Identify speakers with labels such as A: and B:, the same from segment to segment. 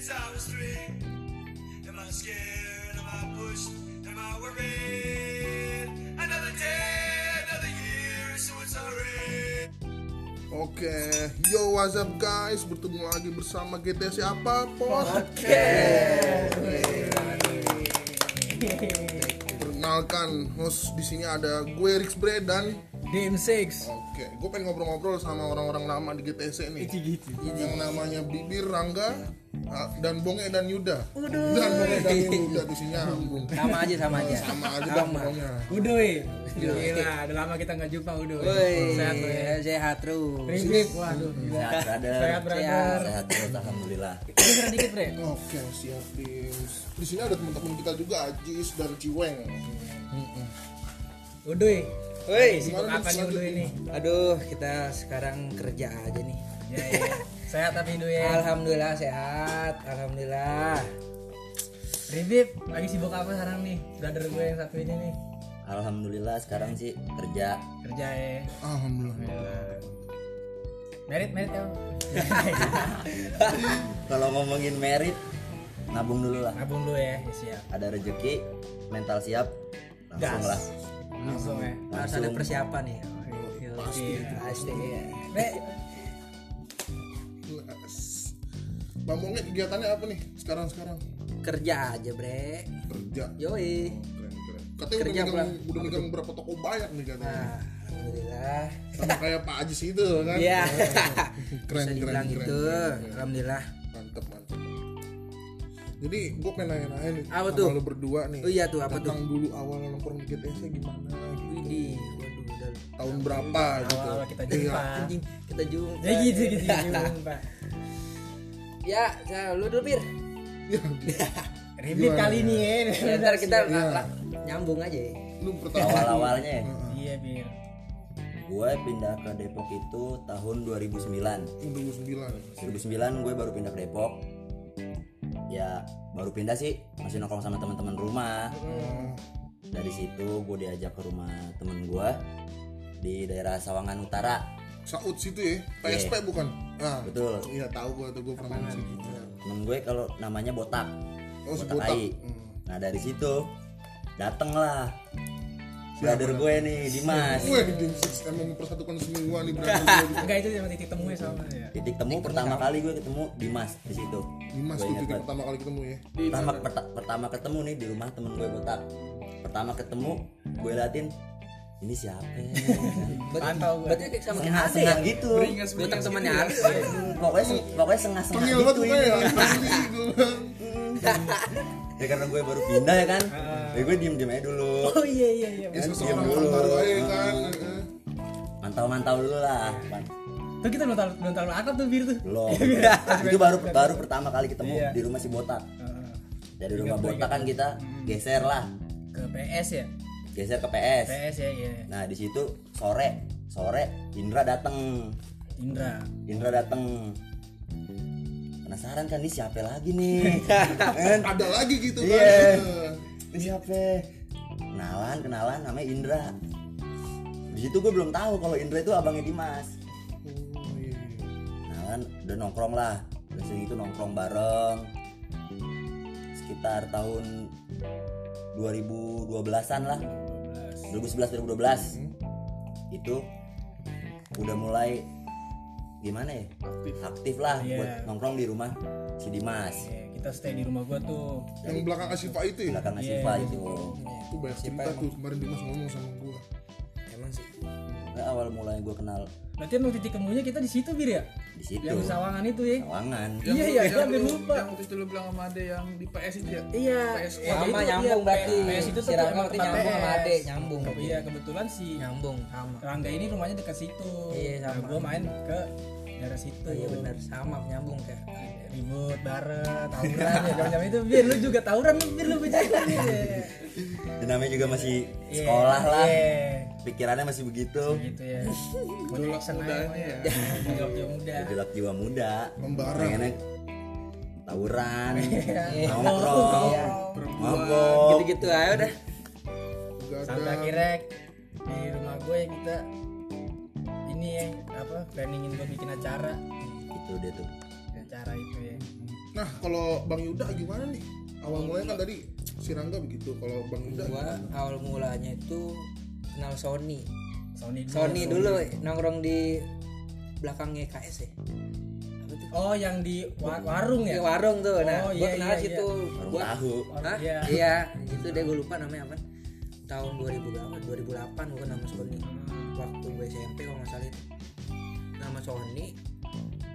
A: astray? Am I scared? Am I pushed? Am I worried? Another day, another year, so it's alright.
B: Oke, yo what's up guys, bertemu lagi bersama GTC apa Podcast. Perkenalkan host di sini ada gue Rix Bre dan
C: DM6
B: oke, gue pengen ngobrol-ngobrol sama orang-orang lama di GTC nih. Yang namanya Bibir Rangga ah, dan Bonge dan Yuda. Dan Bonge dan Yuda di sini nyambung.
C: Sama aja sama aja
B: Sama aja dah
C: Sama.
B: pokoknya.
D: Udoy. eh. Gila, udah lama kita nggak jumpa Udoy.
C: Woi,
D: Sehat lo ya.
C: sehat terus
D: Ring grip, waduh. Gila.
E: Sehat brother.
D: Sehat brother.
E: Sehat terus alhamdulillah.
D: Gegeran dikit, Bre.
B: Oke, siap Dims. Di sini ada teman-teman kita juga Ajis dan Ciweng.
D: Udoy.
C: Woi,
D: eh, Sibuk
B: Gimana,
D: apa
B: Dims?
D: nih Udoy ini?
C: aduh kita sekarang kerja aja nih
D: Ya, ya. Sehat tapi Udoy ya.
C: Alhamdulillah sehat, alhamdulillah
D: Ribip, lagi sibuk apa sekarang nih? Brother gue yang satu ini nih.
E: Alhamdulillah sekarang sih kerja.
D: Kerja ya.
B: Alhamdulillah.
D: Merit, merit ya.
E: Kalau ngomongin merit, nabung dulu lah.
D: Nabung dulu ya, ya, siap.
E: Ada rezeki, mental siap, langsung
D: Gas.
E: lah.
D: Langsung ya.
C: Harus ada persiapan nih
D: Pasti.
C: Pasti ya
D: Bre,
B: Yes. Bang Bonge kegiatannya apa nih sekarang-sekarang?
C: Kerja aja bre
B: Kerja.
C: Yoi
B: Keren-keren. Katanya
C: Kerja,
B: udah megang, udah megang berapa toko banyak nih katanya.
C: Nah, Alhamdulillah
B: Sama kayak Pak Ajis itu kan.
C: Iya
B: Keren,
C: Bisa
B: keren,
C: dibilang
B: keren,
C: gitu
B: keren, keren.
C: Alhamdulillah
B: Mantep, mantep. Jadi gue pengen nanya-nanya nih
C: Apa
B: sama
C: tuh?
B: lu berdua nih.
C: Oh iya tuh, Iya. apa
B: tentang dulu awal nongkrong di GTS gimana gitu.
C: Widih, waduh udah
B: Tahun berapa gitu.
D: awal-awal kita jumpa.
C: anjing kita jumpa
D: Ya Ah. gitu gitu jumpa.
C: ya ya, lu dulu pir
B: Iya.
D: Ribip
B: Gimana?
D: kali ini ya.
C: ya, ntar kita
B: Iya.
C: la- nyambung aja ya.
B: Lu pertama
E: Awal-awalnya ya,
D: Iya, Bir.
E: gue pindah ke Depok itu tahun 2009.
B: dulu sembilan.
E: 2009 gue baru pindah ke Depok. Ya baru pindah sih masih nongkrong sama teman-teman rumah. Dari situ gue diajak ke rumah temen gue di daerah Sawangan Utara.
B: Saud situ ya, PSP bukan? Ah,
E: Iya. Betul. Iya.
B: Iya tahu gua tuh gua pernah main situ.
E: Temen gue kalau namanya botak.
B: Oh, si
E: botak,
B: botak.
E: AI.
B: Hmm.
E: Nah dari situ datenglah brother gue nih Dimas.
B: Gue di Dream Six emang mempersatukan semua nih brother gue.
D: Enggak itu cuma titik temunya sama ya.
E: Titik temu pertama kali gue ketemu Dimas di situ.
B: Dimas
E: Gue
B: tuh
E: ingat
B: titik
E: banget. Iya,
B: pertama kali ketemu ya.
E: Pertama perta- pertama ketemu nih di rumah temen gue botak. Pertama ketemu gue liatin ini siapa?
D: Pantau gue.
C: berarti kayak sama kayak ade ya
E: Sengah sengah gitu.
C: Botak temannya ade
E: Pokoknya se- pokoknya sengah sengah
B: Tengil banget
E: gitu
B: gue
E: ini.
B: ya. Asli gue bilang.
E: Ya karena gue baru pindah ya kan.
B: Ah.
E: Ya gue diem diem aja dulu.
D: Oh iya iya iya.
B: Ya sosok
E: Diam
B: orang
E: dulu. Iya. Ah.
B: baru aja kan.
E: Mantau mantau dulu lah.
D: Tuh kita belum terlalu belum terlalu akrab tuh bir tuh.
E: Belum. itu baru baru pertama kali ketemu
D: Iya.
E: di rumah si botak.
D: Heeh.
E: Dari rumah botak kan kita geser lah,
D: Ke PS ya.
E: geser ke PS.
D: PS ya iya.
E: Nah di situ sore sore Indra dateng,
D: Indra.
E: Indra dateng. Penasaran kan nih siapa lagi nih? kan?
B: Ada lagi gitu kan.
E: Iya.
B: Eh,
E: Ini siapa? Kenalan kenalan namanya Indra. Di situ gue belum tahu kalau Indra itu abangnya Dimas.
B: oh, iya, iya.
E: Nah kan udah nongkrong lah Udah sering itu nongkrong bareng Sekitar tahun 2012an lah
D: Hmm.
E: 2011-2012 Itu udah mulai gimana ya aktif, lah
D: Iya.
E: buat nongkrong di rumah si Dimas
D: Iya, kita stay di rumah gua tuh.
B: Yang belakang Asifa itu ya.
E: belakang gitu.
D: Iya.
E: Siva itu
B: Itu banyak cerita tuh kemarin Dimas ngomong sama gue.
C: emang sih
E: Nah, awal mulanya gue kenal
D: Berarti emang titik temunya kita di situ bir ya.
E: di situ
D: Yang di sawangan itu ya.
E: Sawangan
D: Iya iya, gua hampir lupa.
F: yang waktu itu lu bilang sama Ade yang di PS itu ya
D: Iya. Ya,
C: sama
D: itu,
C: nyambung
D: iya,
C: berarti
D: PS itu
C: si
D: tuh
C: Rama
D: emang
C: berarti
D: tempat
C: nyambung sama
D: PS.
C: ade nyambung berarti.
D: Iya, kebetulan si
C: nyambung sama
D: Rangga ini rumahnya dekat situ.
C: Iya,
D: Nah,
C: sama.
D: gua main ke daerah situ.
C: iya benar sama nyambung kayak
D: ribut bareng tawuran ya jam-jam itu bir lu juga tawuran lu bir lu Iya, bercanda Bir.
E: Dan namanya juga masih
D: Iya,
E: sekolah lah
D: iya.
E: pikirannya masih begitu
D: gitu ya udah action aja mah ya udah udah muda
E: Gejolak jiwa muda
B: Membara.
E: Pengennya tawuran
D: Iya.
E: Nongkrong Mabok
C: gitu-gitu aja udah
B: Gak
D: sampai
B: ada.
D: akhirnya di rumah gue kita ya, ini ya apa planningin buat bikin acara
E: Itu dia tuh
D: acara itu ya
B: Nah, kalau Bang Yuda gimana nih? Awal mulanya kan tadi si Rangga begitu. Kalau Bang Yuda
C: gua awal mulanya itu kenal Sony
D: Sony dulu.
C: Sony
E: Iya,
C: dulu nongkrong di belakang YKS ya apa tuh
D: Oh, yang di wa- warung ya?
C: di warung tuh nah
D: Oh, iya,
C: gua kenal
D: iya,
C: situ
E: Warung
C: gua
E: tahu.
C: Hah?
D: Iya.
C: iya itu deh gua lupa namanya apa tahun 2000 berapa 2008 gua kenal sama Sony waktu gua SMP kalau nggak salah itu nama Sony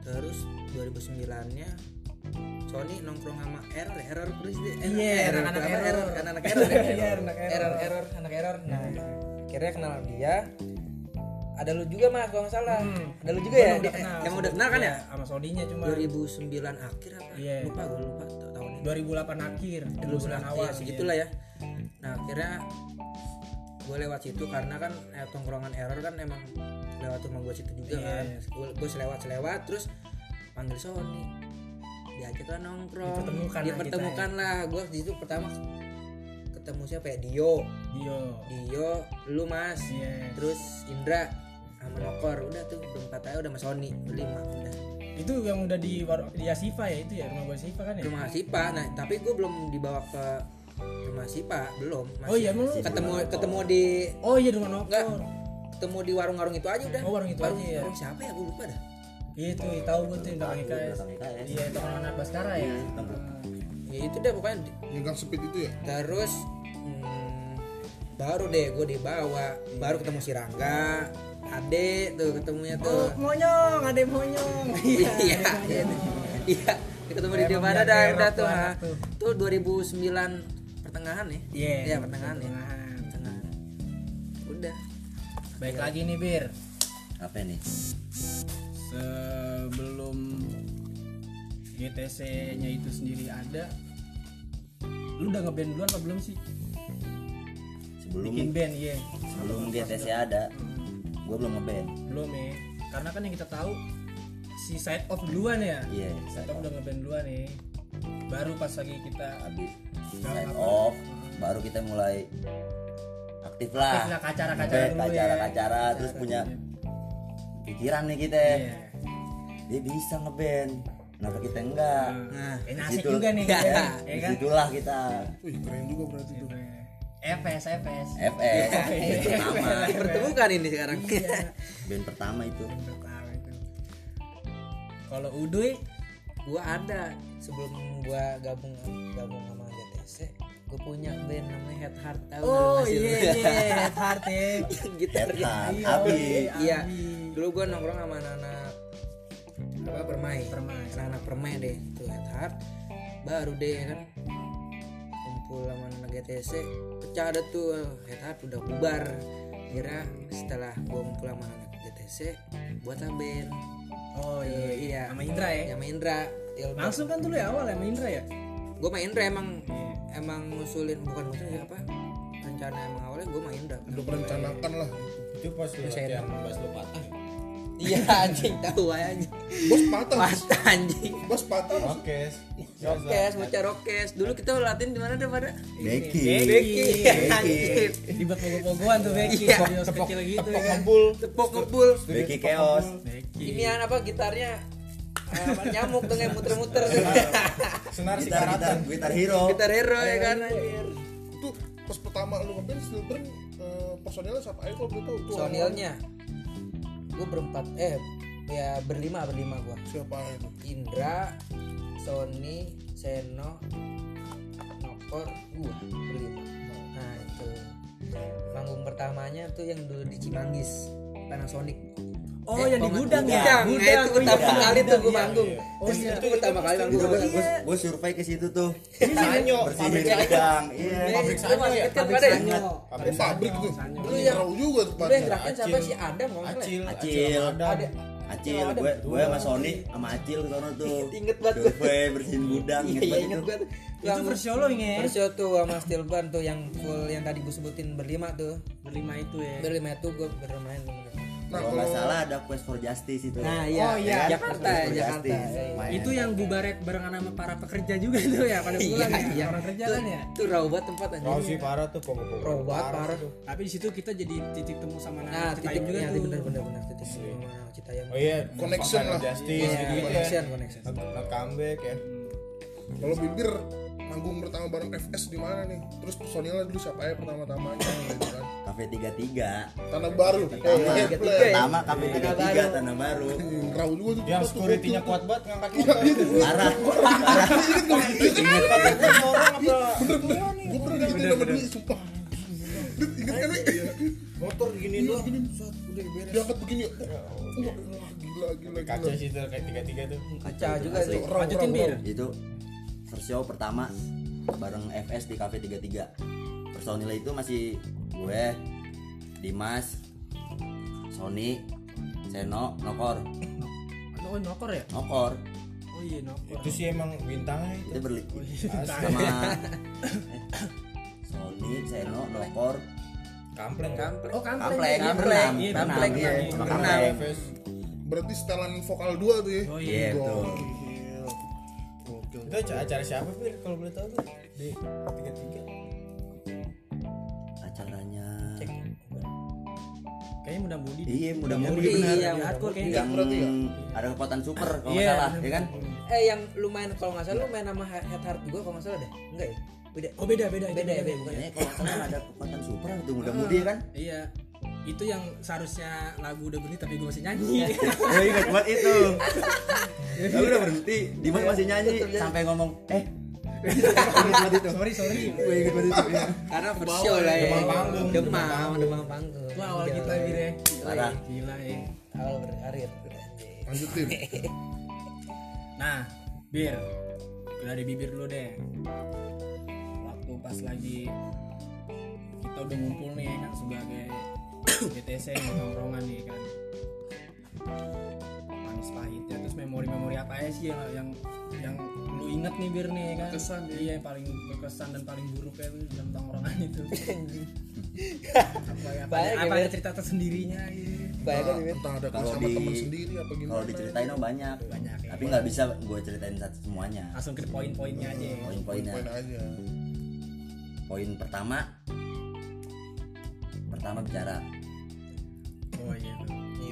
C: terus 2009 nya Sony nongkrong sama error ya? error terus deh Error,
D: Iya,
C: Error,
D: anak-anak
C: apa?
D: Error.
C: error anak-anak error ya?
D: Iya, anak error.
C: error error anak error nah akhirnya kenal sama dia ada lu juga mas kalau nggak salah
D: Hmm.
C: ada lu juga
D: Gua
C: ya
D: udah
C: Di-
D: kenal.
C: emang udah kenal kan ya
D: Iya, Sama Soninya cuma
C: 2009 akhir apa
D: Iya.
C: lupa gue lupa ta- tahunnya
D: 2008 akhir,
C: 2009
D: 2009 awal
C: ya, segitulah ya
D: Hmm.
C: nah akhirnya gue lewat situ karena kan eh, tongkrongan error kan emang lewat rumah gue situ juga
D: Iya,
C: kan
D: iya.
C: gue selewat selewat terus panggil Sony diajak lah nongkrong
D: Dipertemukan lah ya.
C: dipertemukan lah gue di situ pertama ketemu siapa ya Dio
D: Dio.
C: Dio lu mas
D: Iya.
C: terus Indra sama Nokor udah tuh berempat aja udah sama Sony berlima udah
D: Itu yang udah di war- di Asifa ya itu ya, rumah gua Asifa kan ya?
C: rumah Sipa nah tapi gue belum dibawa ke rumah Sipa belum masih
D: Oh iya, emang lu-
C: ketemu ketemu di
D: Oh iya rumah Nokor.
C: enggak ketemu di warung-warung itu aja udah
D: Oh, warung itu aja
C: warung,
D: ya.
C: warung siapa ya gue lupa dah
D: Iya itu, tahu gua tuh yang belakang IKS.
E: Belakang ya. Iya, IKS.
D: Iya, itu anak Baskara ya.
C: ya itu deh pokoknya
B: nyegang speed itu ya?
C: terus hmm, baru deh gue dibawa baru ketemu si Rangga Ade tuh ketemunya
D: Oh.
C: tuh
D: Monyong, ada yang monyong.
C: iya iya iya ketemu di
D: Emang
C: Jawa
D: biar
C: Barat dah
D: erok
C: udah tuh
D: tuh
C: ha.
D: anak tuh.
C: tuh 2009 pertengahan ya
D: Iya,
C: Iya, pertengahan ya
D: pertengahan.
C: pertengahan udah
D: Baik lagi nih, Bir.
E: Apa nih?
G: sebelum GTC-nya itu sendiri ada lu udah ngeband duluan apa belum sih
E: Sebelum
D: Bikin band, iya.
E: sebelum GTC ada, gue belum ngeband.
D: Belum ya. Karena kan yang kita tahu si side off duluan ya.
E: Iya,
D: Side
E: side
D: off
E: off.
D: udah ngeband duluan nih. Baru pas lagi kita
E: Habis side off, baru kita mulai aktif lah.
D: Aktif lah, ke acara-acara
E: Ngeband,
D: dulu
E: ke
D: ya.
E: acara-acara, terus punya Eh. pikiran nih kita.
D: Iya.
E: Dia bisa ngeband. Kenapa kita enggak?
C: nah
D: Eh, asik
E: Disitu-
D: juga nih.
E: Iya,
D: Ya kan?
E: Disitulah kita
B: Wih, keren juga berarti tuh.
D: Iya, FS, FS.
E: FS band pertama,
C: dipertemukan ini sekarang
D: Iya.
E: band pertama itu.
D: Pertama itu. Kalau Uduy
C: gua ada sebelum gua gabung gabung sama GTC gua punya band namanya Head Heart tahu
D: Oh
C: nggak lu
D: iya
C: masih
D: iya Red Heart ya.
C: lu? gitarnya
E: Headhunter, Abi.
C: iya dulu gua nongkrong sama anak-anak apa permai
D: Permai.
C: anak-anak permai deh tuh Head Heart baru deh kan kumpul sama anak GTC pecah ada tuh Head Heart udah bubar kira setelah gua kumpul sama anak GTC buat band
D: Oh
C: Eh,
D: iya.
C: iya
D: Sama Indra ya.
C: sama Indra Ilbar.
D: Langsung kan dulu ya awal sama Indra ya?
C: gue main Indra emang emang ngusulin bukan ngusulin ya apa rencana emang awalnya gue main Indra
B: Udah perencanakan lah.
H: itu pas lu latihan bass lu patah ya?
C: iya anjing tahu aja anjing
B: Bos patah. Bos,
C: patah anjing
B: bos patah. Bos.
H: oke
C: rokes bocah rokes dulu kita latihan di mana deh pada
E: Becky,
D: Iya,
C: Beki anjing
D: Dibuat pogo-pogoan tuh Beki,
C: Iya.
D: serius kecil gitu ya kan.
C: tepok ngebul
E: Becky Chaos,
C: ini apa gitarnya eh, apa, nyamuk tuh kayak muter-muter tuh
H: senar si
E: gitar gitar gitar hero.
C: gitar hero ya kan anjir
B: Itu pas pertama lu ngeband Silburn eh, personilnya siapa aja kalau boleh tahu tuh?
C: sonilnya gue berempat eh ya berlima berlima gue
B: Siapa aja tuh?
C: Indra, Sony, Seno, Nokor, gua berlima. Nah itu manggung pertamanya tuh yang dulu di Cimanggis, Panasonic.
D: Oh, yang
C: Eh,
D: di
C: Pangan-
D: gudang ya?
C: Gudang,
D: Gudang, oh iya,
C: nah, itu pertama
D: gudang,
C: kali tuh gua
D: iya,
C: manggung.
D: iya.
C: Oh,
D: iya.
C: itu pertama kali manggung Nah, gua.
E: gue gue survei ke situ tuh bersihin gudang iya
C: Pabrik sanyo ya, pabrik sanyo.
B: Oh, pabrik tuh.
C: Lu yang-
B: Tahu juga tuh
C: Lu yang
B: pada.
C: gerakin siapa sih Adam kalau nggak salah ya?
H: acil
E: Acil.
H: ada
C: Ada
E: Acil gue gue sama Sony sama Acil ke sono tuh
C: Inget banget gua.
E: survei bersihin gudang
C: Iya,
E: inget
C: iya,
E: banget
C: inget
E: itu
C: banget.
D: Itu versi lo ya.
C: Persio tuh sama Stilban tuh yang full yang tadi gue sebutin berlima tuh.
D: Berlima itu ya.
C: Berlima itu gue bermain bener.
E: kalau nggak salah ada quest for justice itu
C: Nah,
D: Oh,
C: iya.
D: iya.
C: Jakarta,
E: Quest for
C: Jakarta. iya.
E: Justice. Main.
D: Itu yang bubaret barengan sama para pekerja juga tuh ya pada
C: Iya,
D: pulang ya.
C: iya.
D: Orang kerja kan ya.
C: Itu raw banget tempat
H: Kau
C: anjing.
H: sih parah tuh pongo pongo
C: Raw banget parah.
D: Tapi di situ kita jadi titik temu sama
C: Nah,
E: Ah,
D: anak
C: titik
D: Citayam juga
E: iya,
C: juga
D: tuh.
C: bener bener bener titik sama Citayam. Iya,
H: oh iya
B: Connection lah. Iya,
H: justice gitu
C: Connection, connection.
H: Not comeback ya
B: Kalau bibir manggung pertama bareng FS di mana nih? Terus personilnya dulu siapa ya pertama-tamanya gitu kan.
E: Cafe 33
B: Tanah Baru. Oh,
C: tiga ya?
E: Pertama Cafe 33 Tanah Baru
B: Rau juga tuh.
H: yang security-nya kuat banget ngangkat
B: Iya,
H: kita.
E: Parah Parah Ingat banget.
H: Kan orang
B: Iya,
H: apa?
B: Gue pernah gitu sama dia, sumpah. Dit, Ingat kan? Wi?
H: Motor gini
B: Iya,
H: doang.
B: gini, set, udah beres. Diangkat begini. ya. Wah, wah, gila gila
H: Kaca
B: gila.
H: sih tuh kayak tiga-tiga tuh.
C: Kaca juga
E: asli.
C: sih.
B: Rau,
D: Lanjutin,
B: rau,
D: Bir.
B: rau.
E: Itu Gitu. first show pertama bareng FS di Cafe 33 Personilnya itu masih gue Dimas Sony Seno Nokor
D: Oh, nokor ya?
E: Nokor
D: Oh iya, nokor.
H: Itu sih emang bintangnya itu.
E: itu berli
D: Oh, iya.
E: sama eh, Sony Seno Nokor
H: Kampleng.
C: Kampleng.
D: Oh, kan
C: Kampleng,
E: Kampleng Kampleng
C: iya,
E: Kampleng
C: Kampleng,
E: iya,
C: Kampleng.
E: sama
C: Kampleng.
E: Kampleng
H: FS.
B: Berarti setelan vokal dua tuh ya.
D: Oh
E: iya
B: Gokil.
E: betul
B: Gokil.
H: Itu acara acara siapa Bir kalau boleh tahu Bir? Di tiga-tiga.
E: acaranya
D: Kayaknya mudah mudi.
E: iya mudah-mudahan
D: Iya,
E: benar
C: yang hardcore kayaknya.
E: yang
B: berarti ya?
E: ada kekuatan super kalau nggak
D: Iya.
E: salah ya kan
C: Eh yang lumayan kalau nggak salah lu main sama Head Heart juga kalau nggak salah deh. Enggak ya? Beda.
D: Oh, beda, beda. itu
C: Beda ya, beda. bukan ya?
E: kayaknya Iya, kalau nggak salah ada kekuatan super itu mudah-mudahan kan
D: Iya. Itu yang seharusnya lagu udah berhenti tapi gue masih
E: Iya,
C: Iya.
D: nyanyi.
E: gue ingat buat itu tapi udah berhenti Dimas masih nyanyi sampai ngomong eh
D: sorry, sorry.
E: gue ingat buat itu ya.
C: Karena first show lah ya.
H: Demam panggung.
C: Demam, demam panggung.
D: Itu awal
C: Iya.
D: kita gitu ya.
E: Parah.
D: Gila ya.
C: Awal berkarir. anjing.
B: Lanjutin.
D: Nah, bir. Udah di bibir dulu deh. Waktu pas lagi kita udah ngumpul nih kan sebagai BTS yang nongkrongan nih kan. Manis pahitnya terus memori-memori apa aja sih yang yang, yang lu inget nih bir nih kan? Kesan iya yang paling berkesan dan paling buruk ya tuh dalam nongkrongan itu. apa ya, apa,
C: Banyak ya,
D: apa ada
C: Bir.
D: cerita tersendirinya gitu.
C: Bayangin
B: Entah-
C: Bibir.
B: Entah ada
E: Kalau
B: kelas sama
E: di-
B: teman sendiri apa
E: kalau
B: gimana.
E: diceritain oh banyak
D: Banyak ya.
E: tapi nggak bisa gue ceritain satu semuanya
D: Langsung ke poin-poinnya aja. ya.
E: poin-poinnya
B: Poin aja.
E: poin pertama pertama bicara
D: Oh iya.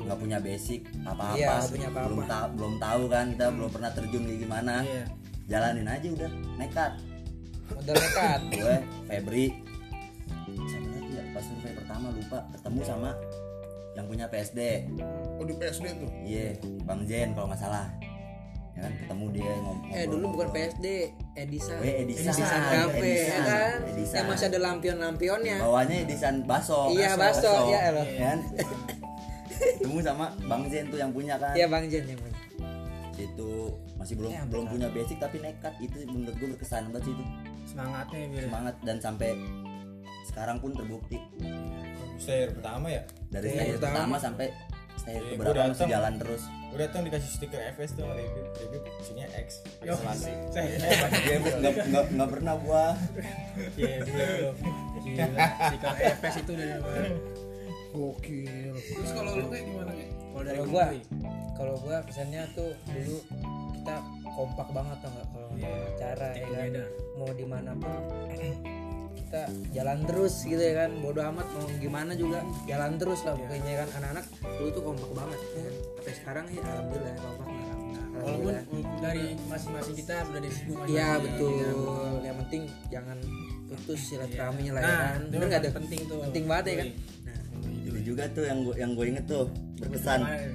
E: nggak punya basic apa-apa
C: Iya, nggak punya apa-apa.
E: belum ta- belum tahu kan kita belum pernah terjun kayak gimana
D: Iya.
E: jalanin aja udah nekat
C: Modal nekat.
E: gue Febri siapa lagi ya pas survei pertama lupa ketemu sama yang punya PSD
B: Oh di PSD tuh.
E: iya Bang Jen kalau nggak salah ya kan ketemu dia ngomong
C: Eh dulu bukan PSD, Edison.
E: Eh, Edisan.
C: Edisan Cafe, ya
E: Edisan.
C: kan?
E: Edisan.
C: Yang masih ada lampion-lampionnya.
E: bawahnya edisan baso
C: Iya, baso. Iya, elah.
E: kan ketemu sama Bang Jen tuh yang punya kan
C: Iya Bang Jen yang punya.
E: itu masih belum
C: Ya,
E: belum punya basic tapi nekat itu menurut gue berkesan banget sih itu
D: Semangatnya ya, bir.
E: semangat dan sampai sekarang pun terbukti
H: Saya pertama ya.
E: dari saya pertama sampai Eh, saya
H: Iya,
E: keberapa
H: gua
E: masih
H: datang.
E: jalan terus
H: Gue datang dikasih stiker FS tuh sama review, review isinya X, Eh,
D: Yo.
H: isolasi.
E: Iya, Bu, nggak nggak nggak pernah gua
D: Iya, iya. Gila, Stiker EPS itu dari mana?
B: Gokil.
D: Terus kalau lu kayak gimana ya? Kalau dari
C: Kalau
D: gua
C: gua, kalau gua kesannya tuh dulu kita kompak banget tau nggak kalau
D: Iya.
C: yeah. acara ya
D: Stick
C: kan?
D: together.
C: Mau dimanapun kita jalan terus gitu ya kan. Bodoh amat mau gimana juga jalan terus
D: Iya.
C: lah pokoknya ya kan anak-anak dulu tuh kompak banget. Ya. kan? Sampai sekarang ya alhamdulillah kompak
D: walaupun
C: alhamdulillah.
D: dari masing-masing kita sudah dari sibuk masing-masing.
C: Iya betul. Yang penting jangan putus silaturahminya lah ya
D: Nah,
C: kan.
D: itu
C: Bener nggak ada
D: penting tuh.
C: Penting banget ya kan. Nah,
E: itu juga tuh yang gua yang gua inget tuh berkesan
D: Kemarin.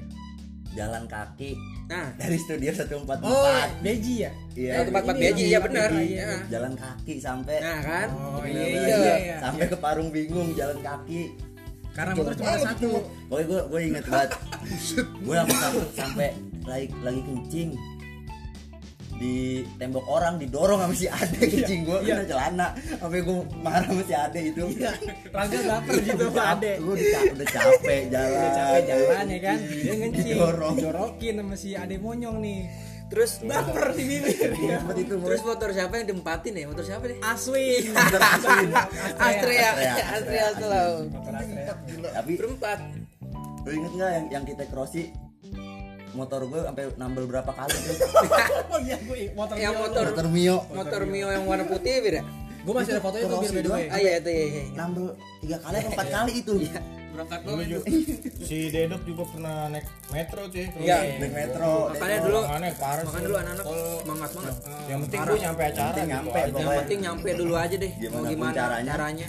E: jalan kaki
C: nah
E: dari studio 144
D: Oh, Beji ya?
E: iya
C: eh, tempat-tempat
D: ini
C: beji
D: lagi
C: ya
D: pakai
C: benar.
D: di-
C: Ya.
E: jalan kaki sampai
C: Nah kan.
D: Oh
E: Iya,
D: iya
E: iya,
D: iya.
E: sampai ke Parung bingung jalan kaki
D: Karena motor cuma
C: Eh,
D: ada satu.
E: Pokoknya gue gue inget banget. gue sampai sampai- sampai lagi lagi kencing di tembok orang didorong sama si Ade
C: Iya.
E: kencing gue kena celana sampai gue marah sama si Ade itu
C: Iya,
D: Rangga baper
E: Iya,
D: gitu Pak Ade.
E: gue udah, ca- udah capek
C: Iya,
E: jalan
D: Dia capek jalan ya kan. Dia ngencing.
E: Didorong.
D: Dijorokin sama si Ade Monyong nih.
C: Terus
D: Baper di bibir.
E: Iya, buat itu
C: Terus motor siapa yang diempatin ya? Motor siapa deh?
D: Aswin.
C: Astrea,
E: Astrea,
C: Astrea Astrea
E: Bro. tapi
C: Berempat.
E: lu inget nggak yang yang kita crossi motor gue sampai nambel berapa kali tuh?
D: Oh iya, gue motor.
C: Yang
D: dia.
C: motor
E: motor mio
C: motor Mio yang warna putih bir ya?
D: Gue masih ada fotonya tuh bir by the way.
C: Ah iya itu iya. iya.
E: nambel tiga kali apa empat kali itu
D: berangkat dulu itu.
H: si Dedok juga pernah naik metro cuy ya?
C: Iya.
H: naik metro
C: Makanya dulu-
H: aneh parah
C: Makan dulu anak-anak semangat banget.
H: yang penting gue nyampe acara
E: Penting
H: gitu
E: nyampe,
H: aja.
C: Yang penting nyampe dulu aja deh.
E: Gimana
C: Mau
E: pun
C: gimana
E: caranya.
C: caranya.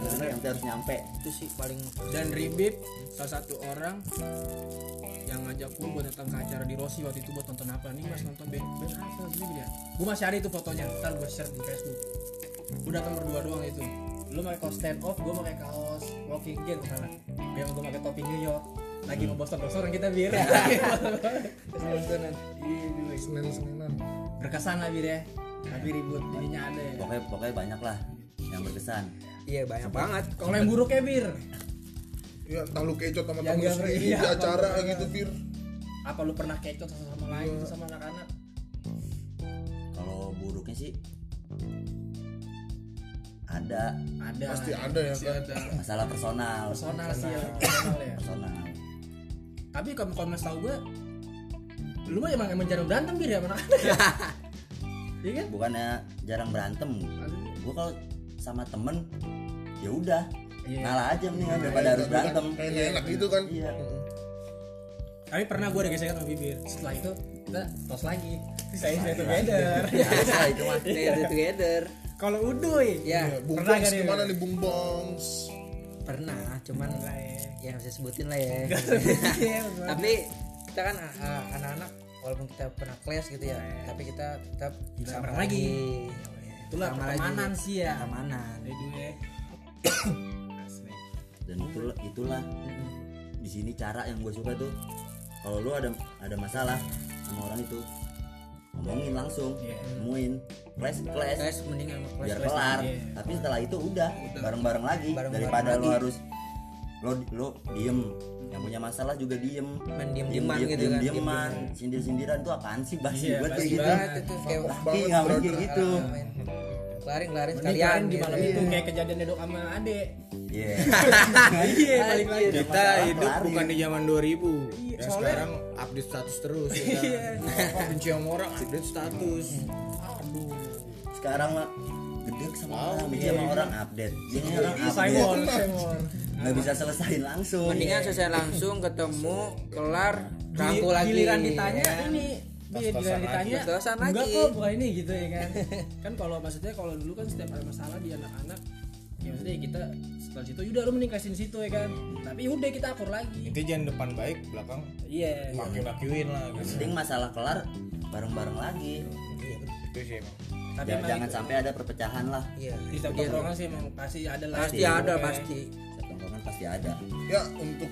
E: Karena yang harus nyampe.
C: Itu sih paling
D: Dan Ribib salah satu orang yang ngajak gue buat datang ke acara di Rossi waktu itu buat nonton apa nih mas nonton band band apa gitu dia gue masih ada itu fotonya ntar gue share di Facebook gue datang berdua doang itu
I: Lu pakai kaos stand off, gua pakai kaos walking game sana. Dia gua pakai topi New York. Lagi ngebosor-bosoran kita bir. Bosor-bosoran. Iya, dulu.
B: Senin Seninan.
I: Berkesan lah bir ya. Tapi ribut jadinya ada ya.
E: Pokoknya pokoknya banyak lah yang berkesan.
C: Iya banyak banget.
I: Kalau yang buruk ya bir.
B: Ya, entah lu kecut sama
I: Yang
B: temen lu
I: gak
B: sendiri
I: iya,
B: di acara
I: apa-apa.
B: gitu, Bir.
I: Apa lu pernah kecoh satu sama lain itu sama anak-anak?
E: Kalau buruknya sih ada
I: Ada.
B: Pasti ada ya kan.
E: masalah personal.
I: Personal sih ya. personal ya.
E: Personal.
D: tapi kalau kalau mas tahu gue lu mah emang emang jarang berantem bir ya sama anak-anak ya iya kan
E: Bukannya jarang berantem. Gue kalau sama temen ya udah ngalah aja nih
B: Iya,
E: daripada harus berantem.
B: Kayak nggak enak gitu kan.
E: Iya.
D: tapi pernah gue ada gesekan sama bibir setelah itu kita tos lagi
I: Saya saya tuh beda.
E: Biasa itu mah.
C: Together together.
I: Kalau Uduy
D: Iya.
B: Ya,
C: Ya
B: Bung
I: Pernah
B: Bongs
I: nggak,
B: kemana nih Bung Bongs?
C: pernah. Cuman ya nggak bisa sebutin lah ya.
I: Iya,
C: tapi kita kan ah, ah, anak-anak walaupun kita pernah kelas gitu ya, tapi kita tetap
I: bareng
C: bersama
I: lagi.
C: lagi.
I: Itulah
C: Sama lagi.
I: pertemanan sih ya.
C: Pertemanan.
D: ya.
E: Dan itulah itulah di sini cara yang gue suka tuh. Kalau lu ada ada masalah sama orang itu ngomongin langsung, temuin, clash clash.
C: Kelas mending sama kelas.
E: biar kelar tapi setelah itu udah bareng-bareng lagi
C: Bareng-bareng
E: daripada lo
C: lagi.
E: harus lo lo diem yang punya masalah juga diem
C: Main diem-dieman Iya, gitu kan,
E: diem dieman sindir sindiran tuh apaan sih basi buat kayak
C: Pasti
E: gitu
C: banget itu kayak
E: baki nggak mungkin kayak gitu
C: ah, kelarin kelarin
D: Mending
C: sekalian
D: kalian di
C: gitu.
D: malam itu kayak kejadian dedok sama ade
E: iya
D: iya balik lagi
A: Kita hidup bukan di zaman 2000
D: Iya,
H: Ya, sekarang update status terus
A: ya kan?
H: kita. Apa benci sama orang update status
E: sekarang mah gede sama orang bikin sama orang update ini orang
D: Iya,
I: Simon,
E: update
I: Simon.
E: nggak bisa selesaiin langsung
C: Mendingan selesai langsung ketemu kelar rangkul lagi.
I: Giliran ditanya ini
D: iya,
I: Bir, giliran ditanya
C: Terus-terusan lagi.
I: Enggak kok, bukan ini gitu ya kan
D: kan kalau maksudnya kalau dulu kan setiap ada masalah di anak-anak ya maksudnya kita setelah situ udah lu mending kasihin situ ya kan
C: Hmm.
D: tapi udah kita akur lagi
H: itu jangan depan baik belakang
D: iya
H: pakai bakuin lah gitu
E: mending masalah kelar bareng-bareng lagi
H: itu sih emang
D: tapi
E: jangan,
D: emang
E: jangan sampai ada perpecahan lah
C: Iya.
D: di setiap tongkrongan sih emang pasti ada lah Iya,
C: Pasti ada
A: kan?
C: pasti.
E: setiap tongkrongan pasti ada
B: Ya, untuk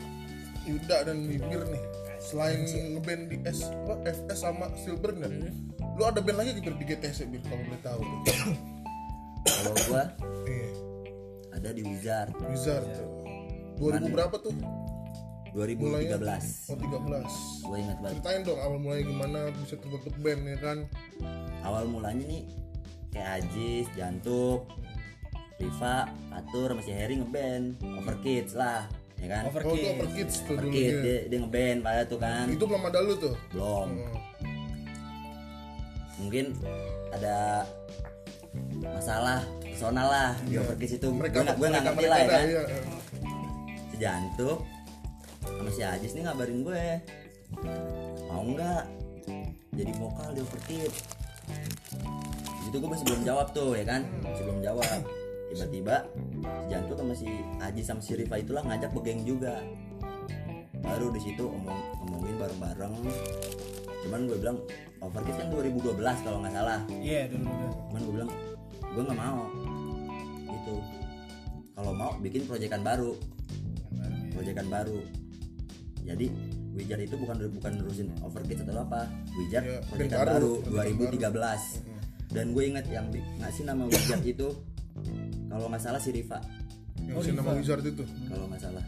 B: Yuda dan Bibir nih. Selain ngeband di S, apa, FS sama Silburn kan? Lu ada band lagi gitu di GTS Bir kalau boleh tahu.
E: kalau gua
B: Iya,
E: ada di Wizard
B: Wizard. 2000 berapa tuh?
E: 2013
B: Oh, 13.
E: gue ingat banget
B: Ceritain dong awal mulai gimana bisa terbentuk band ya kan?
E: awal mulanya nih kayak Ajis, Jantuk, Riva, Atur, masih Harry ngeband, Overkids lah, ya kan?
B: Oh, itu Upper Kids tuh dulu
E: Overkids
B: ya.
E: dia, dia ngeband pada tuh kan,
B: Itu Oh. belum ada lu tuh.
E: belum. Mungkin ada masalah personal lah di Overkids itu, gue
B: Iya. Mereka
E: nggak gue nggak
B: mereka
E: ngerti
B: mereka
E: lah ya
B: dah,
E: kan?
B: iya.
E: Si Jantuk sama si Ajis nih ngabarin gue, mau nggak jadi vokal di Overkids? itu gue masih belum jawab tuh ya kan masih belum jawab tiba-tiba si Jantu sama si Aji sama si Riva itulah ngajak begeng juga baru di situ omong ngomongin bareng-bareng cuman gue bilang overkill kan 2012 kalau nggak salah
D: iya dulu
E: cuman gue bilang gue nggak mau gitu kalau mau bikin proyekan baru proyekan baru jadi Wijar itu bukan bukan nerusin overkill atau apa Wijar
B: Iya,
E: proyekan
B: baru.
E: baru,
B: Proyekan
E: 2013 dan gue inget yang bi- ngasih nama Wijar itu kalau nggak salah si Riva
B: Yang si nama Wizard itu.
E: kalau nggak salah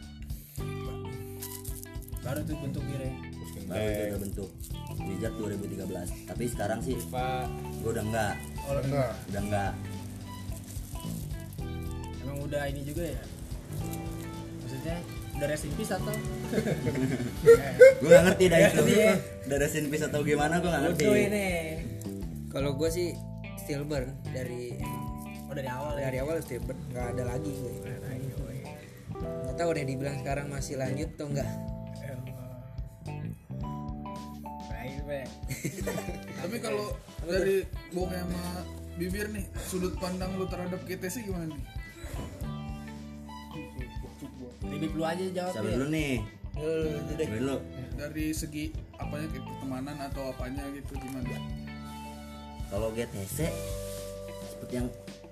D: baru tuh bentuk birnya
E: baru itu udah bentuk Wijar 2013 tapi sekarang sih
H: pak
E: gue udah enggak
B: Kalau enggak,
E: udah enggak
D: emang udah ini juga ya maksudnya udah rest in peace atau
E: gue nggak ngerti dah itu udah ada sinpis atau gimana gue nggak ngerti
C: Kalau gue sih Stillburn dari
D: oh dari awal ya Nah,
C: dari awal Stillburn nggak ada lagi gue. Nggak tahu deh dibilang sekarang masih lanjut atau enggak
D: Baik, Bre.
A: Tapi kalau dari bong sama bibir nih, sudut pandang lu terhadap GTC gimana nih?
D: Bibir lu aja jawab. ya.
E: Siapa dulu nih?
C: Lu- lu deh.
E: Siapa dulu?
A: Dari segi apanya kayak pertemanan atau apanya gitu gimana?
E: Kalau GTC seperti yang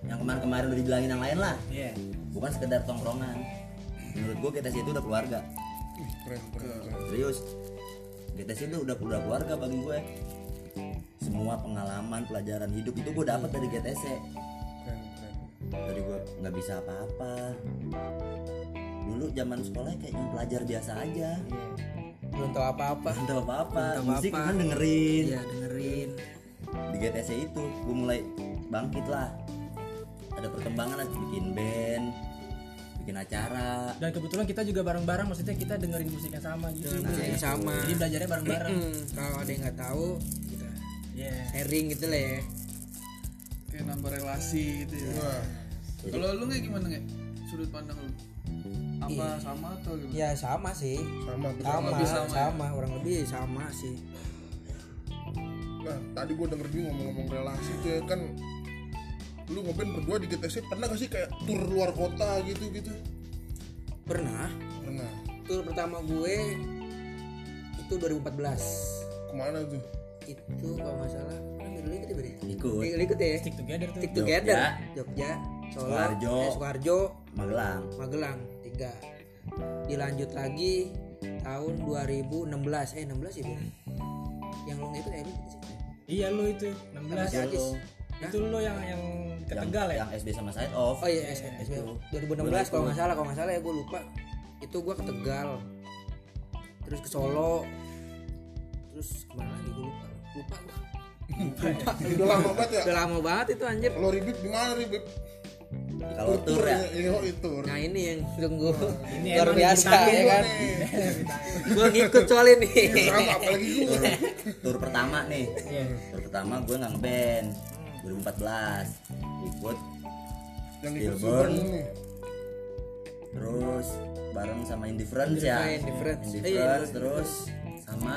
E: yang kemarin-kemarin udah dibilangin yang lain lah.
D: Iya.
E: Bukan sekedar tongkrongan. Menurut gua GTC itu udah keluarga.
B: keren keren keren.
E: Serius. GTC itu udah udah keluarga bagi gue. Semua pengalaman, pelajaran hidup itu gue dapat dari GTC.
B: keren keren
E: dari gua nggak bisa apa-apa dulu zaman sekolah kayak yang pelajar biasa aja
B: Iya.
C: belum tahu apa-apa
E: nggak tahu apa-apa
C: Nggak tahu
E: musik
C: apa.
E: kan dengerin
C: Iya dengerin
E: di GTC itu gua mulai bangkit lah ada perkembangan lah bikin band bikin acara
D: Dan kebetulan kita juga bareng-bareng, maksudnya kita dengerin musik yang sama gitu.
C: musik yang sama.
D: Jadi belajarnya bareng-bareng.
C: Mm, kalau ada yang nggak tahu kita
D: Iya.
C: sharing gitu lah ya
A: Kayak nambah relasi gitu ya.
B: Wah,
C: Iya.
A: Kalau lu nggak gimana nggak? Sudut pandang lu? Apa sama atau gimana?
C: ya Iya. sama sih
B: sama Nah, betul
C: sama
A: lebih
C: sama,
A: sama ya?
C: kurang lebih sama sih
B: Nah, tadi gue denger dia ngomong-ngomong relasi tuh ya kan lu ngeband berdua di GTC pernah gak sih kayak tur luar kota gitu gitu
C: pernah
B: pernah
C: tur pertama gue itu 2014
B: kemana tuh
C: itu kalau nggak salah kan dulu ikut ya Budi?
E: ikut
C: Ikut- ikut ya
D: Stick together tuh.
C: Stick Together Jogja Solo
E: Sukoharjo.
C: eh, Sukoharjo
E: Magelang
C: Magelang tiga dilanjut lagi tahun 2016 eh 16 ya Bun? yang lo ngikut ya
D: Iya lu itu 16
C: Masih Ajis
D: Itu lu yang yang ke
E: yang,
D: Tegal ya?
E: yang SB sama side off Gitu.
C: oh iya S- S-
D: Gitu.
C: 2016 kalau nggak salah kalau nggak salah ya gue lupa itu gue ke Tegal terus ke Solo terus kemana lagi gue lupa lupa gua.
B: udah lama banget ya
C: udah lama banget itu anjir
B: lo ribet gimana ribet
E: kalau tur ya
B: iya tur
C: nah ini yang tunggu
D: Ini
C: luar
D: emang
C: biasa
E: Iya
C: ya kan
B: Nih,
C: gue ngikut soalnya
B: Iya,
C: nih
B: sama apalagi gue
E: tur, tur pertama nih
D: Iya.
E: tur pertama gue nggak ngeband
C: Hmm.
E: 2014 ikut
B: yang ikut
E: Billboard.
B: Subang ini
E: terus bareng sama Indifference ya
C: Indifference, Indifference. Eh,
E: Indifference
C: Indifference.
E: terus sama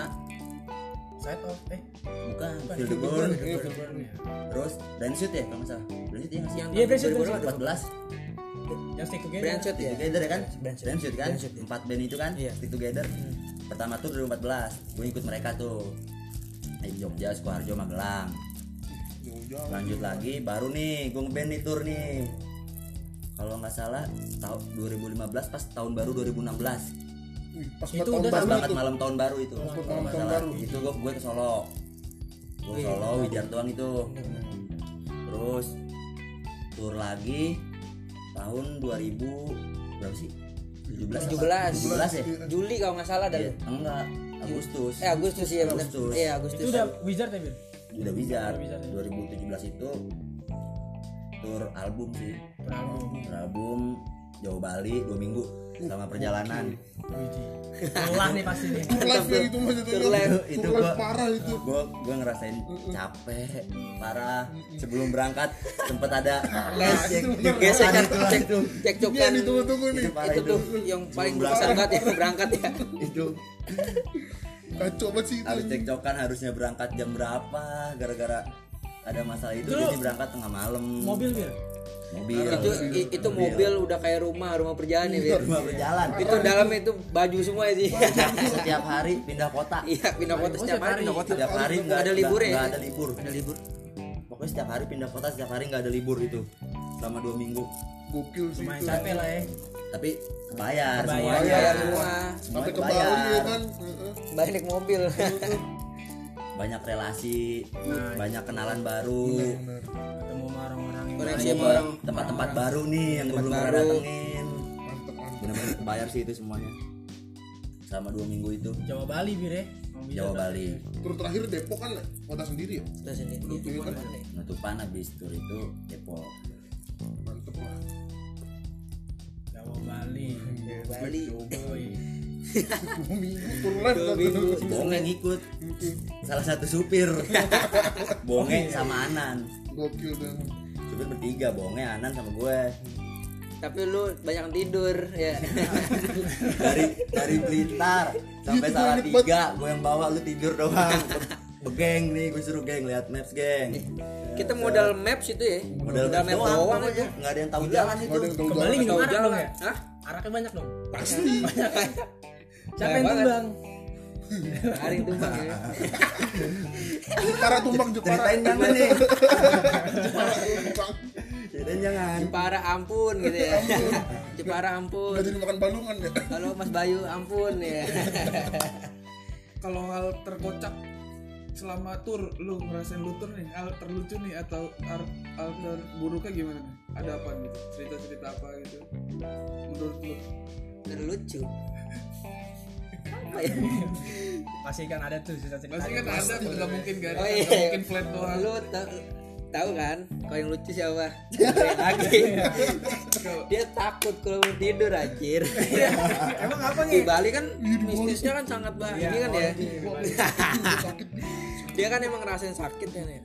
D: Side of eh
E: bukan Feel the Burn
B: Iya,
D: Burn ya.
E: terus Brandsuit ya kalau nggak salah Brandsuit ya nggak sih
C: yang
D: Iya, Brandsuit,
C: tahun 2014.
E: 14
D: Yang stick together.
C: Brandshot ya
E: together ya kan
C: Brandsuit.
E: Brandsuit kan
C: Brandsuit, iya.
E: empat band itu kan
C: Iya.
E: stick together pertama tuh 2014 gue ikut mereka tuh Eh, Jogja, Sukoharjo, Magelang
B: jauh-jauh
E: lanjut lagi baru nih gue ngeband nih tur nih kalau nggak salah tahun 2015 pas tahun baru 2016
B: Wih, pas banget
D: Itu
B: tahun
D: udah
E: pas
B: baru
E: banget
B: itu
E: malam tahun baru itu
B: Pas malam tahun
E: Masalah.
B: baru.
E: itu gue gue ke Solo gue
C: Iya,
E: ke Solo Wijar Tuang itu terus tur lagi tahun 2000 berapa sih 17 apa?
C: 17
E: 17 ya
C: Juli kalau nggak salah
E: Iya,
C: dan
E: enggak Agustus
C: eh Agustus ya benar
E: Agustus.
C: iya Agustus
D: Itu udah Wizard ya, Bir?
E: udah Wijar
D: Udah Wizard ya.
E: 2017 itu tur album sih
D: Prabu.
E: tur album Jawa Bali dua minggu sama perjalanan
D: Wiji. Lelah nih pasti nih.
B: tur live ya itu mas itu
C: Tur live.
B: Tur
E: Itu
B: live
E: gua-
B: Eh, parah itu
E: gue gue ngerasain capek parah sebelum berangkat sempet ada gesek
B: bener.
C: gesekan
E: Itu lah,
C: kan cek
E: itu.
D: Iya,
C: cek
B: ini yang
E: kan.
C: cokan
B: ditunggu-tunggu Iya nih
E: itu parah
C: itu
E: itu
C: tuh yang paling
E: Sebelum
C: berasa banget ya berangkat ya
E: itu
B: kacau banget sih itu
E: harus cekcokan harusnya berangkat jam berapa gara-gara ada masalah itu jadi berangkat tengah malam
D: Mobil, Bir.
E: mobil
C: itu
E: iya.
C: i- itu mobil udah kayak rumah rumah perjalanan ya
E: Cuma berjalan
C: Bir. itu dalamnya itu baju semua ya sih
E: setiap hari pindah kota
C: iya pindah kota setiap hari pindah kota
E: Oh, setiap hari nggak
C: ada libur ya?
E: nggak ada libur
C: ada libur
E: pokoknya setiap hari pindah kota setiap hari nggak ada libur itu selama dua minggu
B: gokil sih
D: Main
B: itu
D: capek lah ya.
E: tapi bayar
D: Kebayar.
E: semuanya
C: bayar ya, semua
E: Semuanya
B: sampai ke
E: kebayar.
B: Bali ya kan Heeh.
C: balik mobil
E: Iya, banyak relasi
C: Nah.
E: banyak kenalan baru
D: Ketemu sama orang-orang yang
C: koneksi
E: Ketemu
C: Iya, sama
E: ke
C: orang Nah.
E: tempat-tempat baru nih yang gue belum pernah
C: baru.
E: datengin
B: mantep mantep
E: bener-bener kebayar sih itu semuanya selama dua minggu itu
D: Jawa Bali, Bir ya. Mau
C: Iya,
D: Wizard.
E: Jawa Bali
B: tur terakhir Depok kan kota sendiri ya
C: Udah sendiri
B: Iya, kan?
E: penutupan habis tur itu Depok
B: mantep lah
D: Jawa Bali.
C: Bali
D: Woi.
B: dua minggu tur live kan
C: Iya,
E: Si Bonge ngikut salah satu supir
C: Iya,
E: Bonge sama Anan
B: gokil dan
E: supir bertiga Bonge Anan sama gue
C: tapi lu banyak tidur ya
E: dari dari Blitar sampai
B: Gitu,
E: salah
B: ribet.
E: tiga gue yang bawa lu tidur doang begeng nih gue suruh geng lihat maps geng
C: kita modal maps itu ya
E: modal maps doang, pokoknya. nggak ada yang tahu jalan
B: Nggak
E: itu
B: ada yang tahu
D: Kembali
B: jalan.
D: minum
C: tahu
D: arak
C: jalan
D: dong ya?
C: Hah?
D: Araknya banyak dong.
B: Pasti.
D: Siapa yang
C: banget.
D: tumbang?
C: hari itu bang ya
B: Jepara tumbang Jepara.
E: ceritain jangan nih
B: Jepara tumbang.
E: ceritain jangan
C: Jepara ampun gitu ya Jepara ampun
B: Nggak jadi makan balungan ya.
C: Halo Mas Bayu ampun ya
J: kalau hal terkocak selama tur lu ngerasain lu tur nih hal terlucu nih atau hal, hal terburuknya gimana nih ada apa gitu cerita cerita apa gitu menurut lu
C: terlucu apa ya
D: Pasti kan ada tuh cerita-cerita.
J: pasti kan ada tuh nggak mungkin gak ada
C: Oh,
J: nggak
C: iya.
J: mungkin flat doang
C: lu ta- tahu kan kalau yang lucu siapa Yang lagi
J: Iya.
C: dia takut kalau mau tidur anjir
J: Iya.
D: Emang apa
C: di Bali kan mistisnya kan sangat banyak
J: Iya,
C: ini kan ya dia kan emang ngerasain sakit kan ya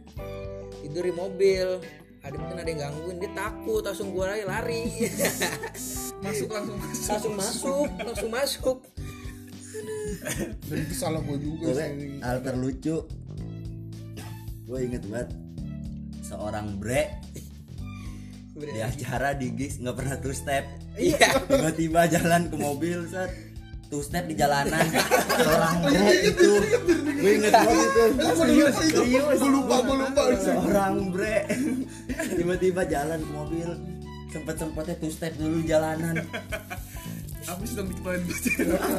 C: tidur di mobil ada mungkin ada yang gangguin dia takut langsung gua lari lari
J: masuk langsung masuk
C: langsung masuk langsung masuk
B: Dan itu salah gue juga
E: gue
B: sih.
E: hal terlucu gue inget banget seorang bre di
C: Bener.
E: acara di gigs nggak pernah two step
C: iya
E: tiba-tiba jalan ke mobil set two step di jalanan seorang bre itu gue inget banget itu
B: Serius, serius. Gue lupa, gue lupa.
E: seorang bre tiba-tiba jalan ke mobil sempet sempetnya two step dulu jalanan
J: habis dong diketahuin baca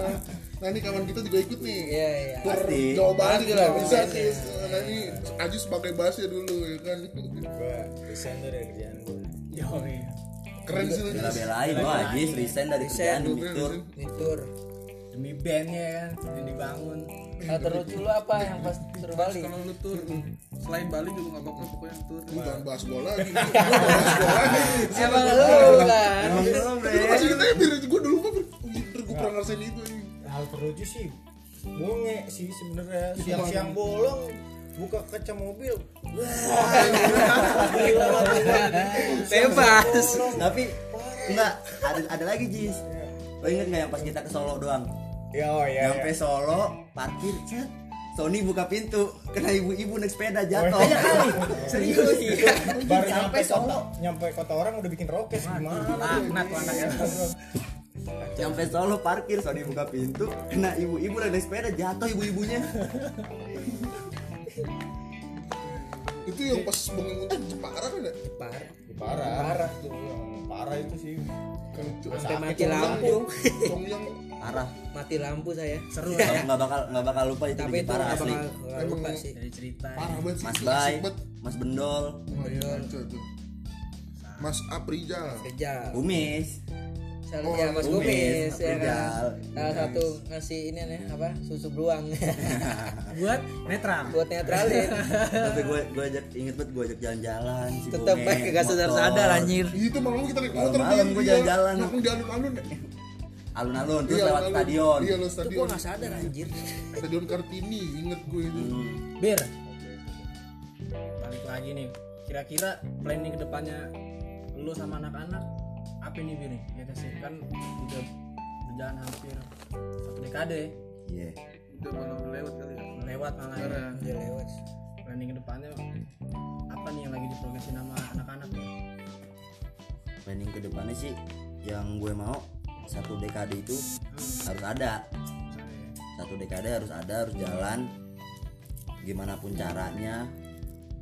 B: Nah ini kawan kita juga ikut nih.
C: iya iya
B: Tur
E: Pasti.
B: Jawa Bali lah bisa sih. Nah ini Aju sebagai bassnya dulu ya kan.
H: Desain tuh dari kerjaan gue.
B: Keren sih lu. Jis.
E: bela-belain gue Ajis resign dari kerjaan demi tur
C: Nitur.
D: Demi bandnya kan, yang dibangun.
C: Kalau terlucu lu Eh, apa yang pas seru Bali?
J: kalau lu tur selain Bali juga nggak apa-apa pokoknya tur
B: Lu jangan bahas bola lagi. Lu bahas bola lagi.
C: Emang lu kan.
E: Emang belum,
B: Itu
E: Bre.
B: masih kita ya biar gue dulu mah gue pernah ngerasain itu. anjing.
H: Hal terlucu sih. Bonge sih sebenarnya siang-siang bolong buka kaca mobil.
C: Bebas.
E: tapi enggak ada ada lagi Jis lo inget nggak yang pas kita ke Solo doang
H: Ya oh ya.
E: nyampe Solo parkir cet Sony buka pintu kena ibu-ibu naik sepeda jatuh Iya serius Iya.
H: Baru nyampe Solo, nyampe kota orang udah bikin rokes gimana?
D: Laknat tuh anaknya.
E: nyampe Solo parkir Sony buka pintu kena ibu-ibu naik sepeda jatuh ibu-ibunya
B: Itu yang pas bangun muntah Jepara kan ya?
H: Parah. Parah tuh. iya, Parah itu sih.
B: Kan itu
C: Sampai mati lampu.
B: Tongyang
E: parah
C: Mati lampu saya.
D: Seru ya.
E: Nggak- nggak bakal nggak bakal lupa itu
C: Tapi
E: bikin
C: itu
E: parah
C: nggak
E: asli
C: bakal nggak lupa sih.
D: Dari cerita.
B: parah banget sih.
E: Mas
B: klasik
E: Bay
B: banget.
E: Mas Bendol
B: Wah, iya, kacau tuh. Mas Aprija.
C: Kerja.
E: Oh, Umis
C: Salah ya Mas
E: Umis,
C: Gomis ya kan.
E: Rijal.
C: Salah satu ngasih ini nih apa? Susu beruang.
D: Buat netral.
C: Buat netralin.
E: tapi gue gue ajak inget banget gue ajak jalan-jalan si
C: Tetep
E: Bonge,
C: baik kagak
E: motor.
C: sadar-sadar anjir.
B: Itu malam kita naik motor dia-
E: Malam-malam gua
B: dia
E: jalan-jalan.
B: Langsung di alun-alun. ya?
E: alun-alun terus
B: Iya,
E: lewat
B: alun-alun.
E: stadion
B: Iya, lo
C: Itu gua
B: stadion.
C: enggak sadar anjir.
B: Stadion Kartini, inget gue itu.
D: Bir. Balik lagi nih. Kira-kira planning kedepannya lu sama anak-anak apa nih Bir? nih? Ya kan sih kan udah berjalan hampir satu dekade
E: Iya.
J: udah malam lewat kali ya
D: lewat malah ya.
J: Karena
C: Udah lewat.
D: planning kedepannya apa nih yang lagi diprograsin sama anak-anak ya? nih?
E: planning ke depannya sih yang gue mau satu dekade itu harus ada satu dekade harus ada harus jalan gimana pun caranya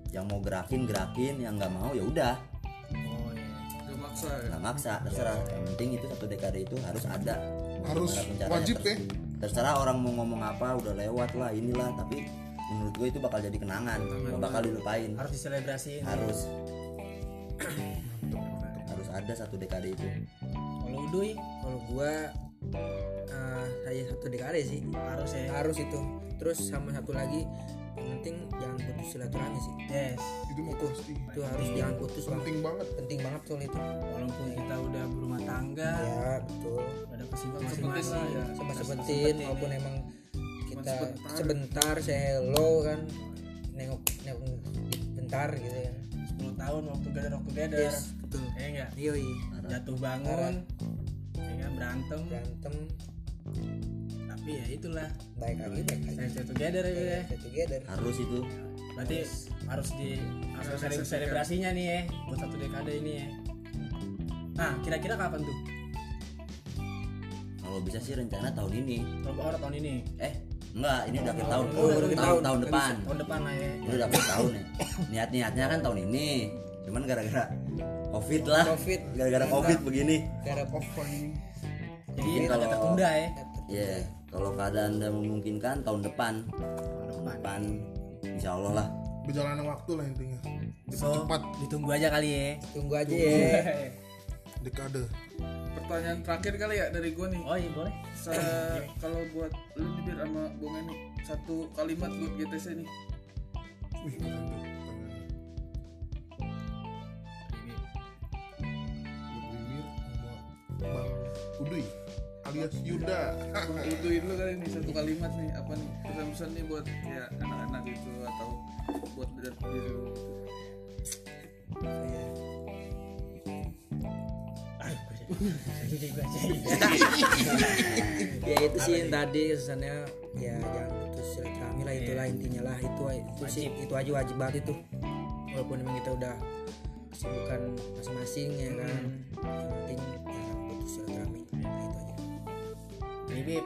E: yang mau gerakin gerakin yang nggak mau ya udah
D: Oh iya.
J: nggak maksa ya
E: nggak maksa terserah yang penting itu satu dekade itu harus ada Mau
B: Harus,
E: gimana pun caranya,
B: wajib ya?
E: terus- terserah orang mau ngomong apa udah lewat lah inilah tapi menurut gue itu bakal jadi kenangan nggak bakal dilupain
D: Harus diselebrasiin.
E: harus harus ada satu dekade itu
D: Kalau Uduy
C: Kalau gua eh, saya satu dekade sih.
D: harus ya.
C: Harus itu. Terus sama satu lagi yang penting jangan putus silaturahmi sih.
D: Yes.
B: Itu mau
C: Itu
B: pasti.
C: itu harus jangan putus Bang.
B: Penting banget.
C: penting banget soal itu
D: Walaupun kita udah berumah tangga,
C: ya betul
D: udah ada kesibukan masing-masing.
J: lah ya.
C: iya. sempat
D: Sepetin
C: sempetin
D: ini.
C: maupun emang kita
J: sebentar.
C: sebentar saya hello kan nengok nengok bentar gitu ya
D: 10 tahun waktu gather rock together
C: Yes, betul.
D: ya enggak
C: Yoi,
D: jatuh bangun ya kan berantem
C: Iya. berantem
D: tapi ya itulah
C: baik lagi baik lagi.
D: stay together ya
C: Kita
D: Bel, ya.
C: together.
E: harus itu
D: berarti harus di harus
C: Iya,
D: ada sele- selebrasinya nih ya buat satu dekade ini ya nah kira-kira kapan tuh
E: kalau bisa sih rencana tahun ini
D: kalau orang tahun ini
E: eh enggak ini udah akhir tahun
D: Oh, udah akhir
E: tahun tahun depan
D: tahun depan lah ya
E: ini udah akhir tahun ya niat niatnya kan tahun ini cuman gara-gara covid lah
C: Covid.
E: gara-gara covid begini
C: Garap
D: jadi
E: Mungkin
D: agak
E: kalau-
D: tertunda ya
E: ya kalau keadaan dan memungkinkan tahun depan tahun depan insya Allah lah
B: berjalannya waktu lah intinya
D: so
B: cepat
D: ditunggu aja kali ya
C: tunggu aja ya.
D: Iya.
B: dekade
J: Pertanyaan terakhir kali ya dari gua nih.
D: oh iya boleh
H: Eh,
J: Sa- kalau buat lu nih biar sama Bung ini satu kalimat buat GTC nih.
B: wih keren tuh pertanyaannya. Buat bibir sama bang Uduy alias Yuda
J: Gua butuhin lu kali nih satu kalimat nih apa nih pesan-pesan nih buat ya anak-anak gitu atau buat diri diri lu gitu.
C: ya itu sih yang tadi kesannya ya jangan putus silaturahmi lah itulah intinya lah itu itu sih itu aja wajib banget itu walaupun memang kita udah kesibukan masing-masing ya kan yang penting jangan putus silaturahmi Nah, itu aja
D: Nih Bib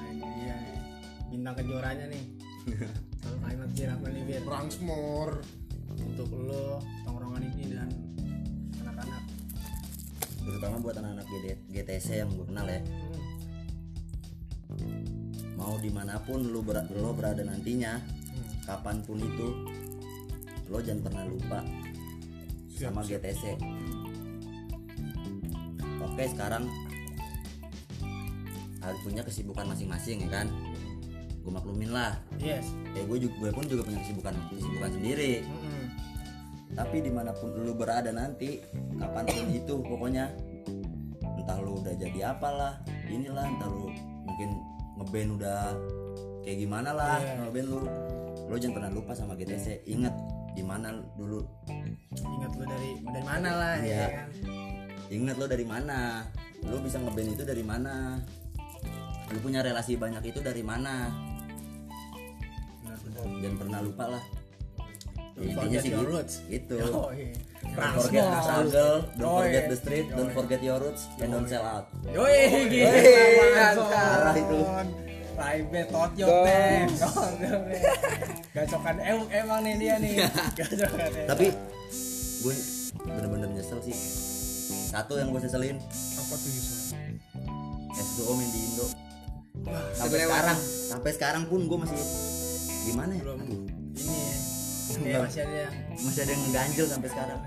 D: Nah ini dia nih Bintang kejuaranya nih Kalau kalimat Bir apa nih Bir
B: Ransmore
D: Untuk lo Tongkrongan ini dan Anak-anak
E: terutama buat anak-anak GD GTC yang gue kenal ya mau dimanapun lu ber- lo berada nantinya kapanpun itu lo jangan pernah lupa sama GTC oke sekarang harus punya kesibukan masing-masing ya kan gue maklumin lah
D: Yes
E: ya gue juga gue pun juga punya kesibukan kesibukan sendiri tapi dimanapun lu berada nanti kapanpun itu pokoknya entah lu udah jadi apalah inilah entah lu mungkin ngeband udah kayak gimana lah ngeband lu lu jangan pernah lupa sama GTC ingat di mana dulu
D: Ingat lo dari Dari mana lah
E: Iya.
D: kan?
E: ingat lo dari mana lu bisa ngeband itu dari mana lu punya relasi banyak itu dari mana jangan pernah lupa lah Ya, intinya
D: forget
E: sih
D: your
E: gitu,
D: roots.
E: gitu.
D: Oh iya
E: Don't forget the struggle, don't
D: Yoi.
E: forget the street,
D: iya.
E: don't forget your roots, and don't sell out.
D: Yoi gitu
E: Parah itu.
D: Private tot your damn Gacokan em- emang nih dia nih Gacokan eh. emang.
E: Tapi gue bener-bener nyesel sih. Satu yang gue seselin,
B: apa tuh Yusuf
E: S2O main di Indo. Sampai sekarang, sampai sekarang pun gue masih gimana ya?
D: Belum.
E: Aduh,
D: Ini ya Ini masih ada yang
E: masih ada yang ganjel sampai sekarang.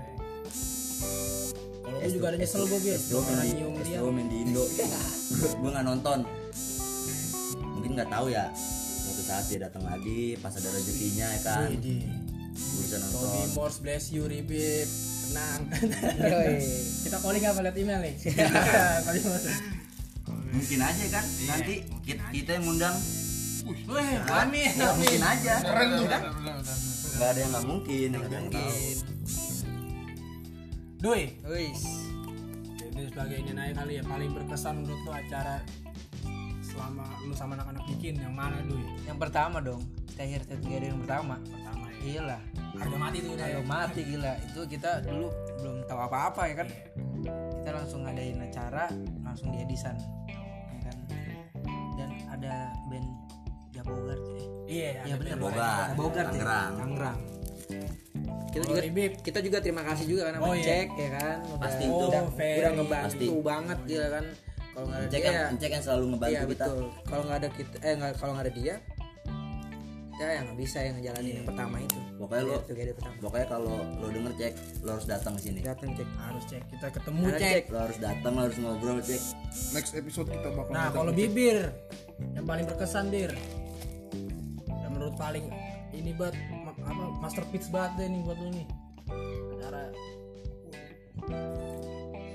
D: Kalau gue juga ada nyesel gue Bir
E: S2O main
D: Pernah
E: di
D: nyium dia
E: S2O main di Indo. gue nggak nonton. Mungkin nggak tahu ya. Suatu saat dia datang lagi, pas ada rezekinya ya kan.
D: Widih.
E: Gue bisa
D: Tommy
E: nonton.
D: Morse bless you Ribib tenang kita calling apa lihat email nih
E: Iya.
D: Tommy Morse
E: mungkin aja kan
D: Iya.
E: nanti kita, kita yang ngundang
D: weh amin
E: ya, mungkin aja
B: keren tuh kan
E: nggak ada yang nggak mungkin nggak ada yang tahu
D: doi ini sebagai ini naik kali ya paling berkesan menurut lo acara selama lu sama anak-anak bikin yang mana doi
C: yang pertama dong kita here together yang pertama
D: pertama ya
C: gila
D: harga mati tuh ya. udah
C: Ayo mati gila itu kita dulu belum tahu apa-apa ya kan
D: Iya.
C: kita langsung ngadain acara langsung di Edisan ya kan dan ada band Jabogart ya
D: iya
C: ya benar
E: Bogart,
C: Bogart ya
E: Tangerang.
C: Tangerang kita juga
D: Ribib.
C: kita juga terima kasih juga karena
D: Oh, iya.
C: mencek ya kan udah,
E: Pasti itu.
C: udah,
D: Oh, Ferry.
C: udah ngebantu
E: Pasti.
C: banget gila kan kalau nggak ada
E: cek
C: dia
E: yang
C: ya-
E: cek yang selalu ngebantu
C: iya
E: kita
C: betul kalau nggak ada kita eh nggak- kalau nggak ada dia kita yang nggak bisa yang ngejalanin yang pertama itu
E: Pokoknya lu-
C: Lihat together pertama
E: pokoknya kalau lo denger cek lo harus datang ke sini
C: datang cek
D: harus cek kita ketemu
E: Nah,
C: Ada
D: cek
C: Iya. cek.
E: lo harus datang lo harus ngobrol cek
B: next episode kita bakal
D: nah
B: ngajak
D: kalau
B: Ucup.
D: bibir yang paling berkesan bir yang menurut paling ini buat ma- apa masterpiece banget deh nih buat lu nih acara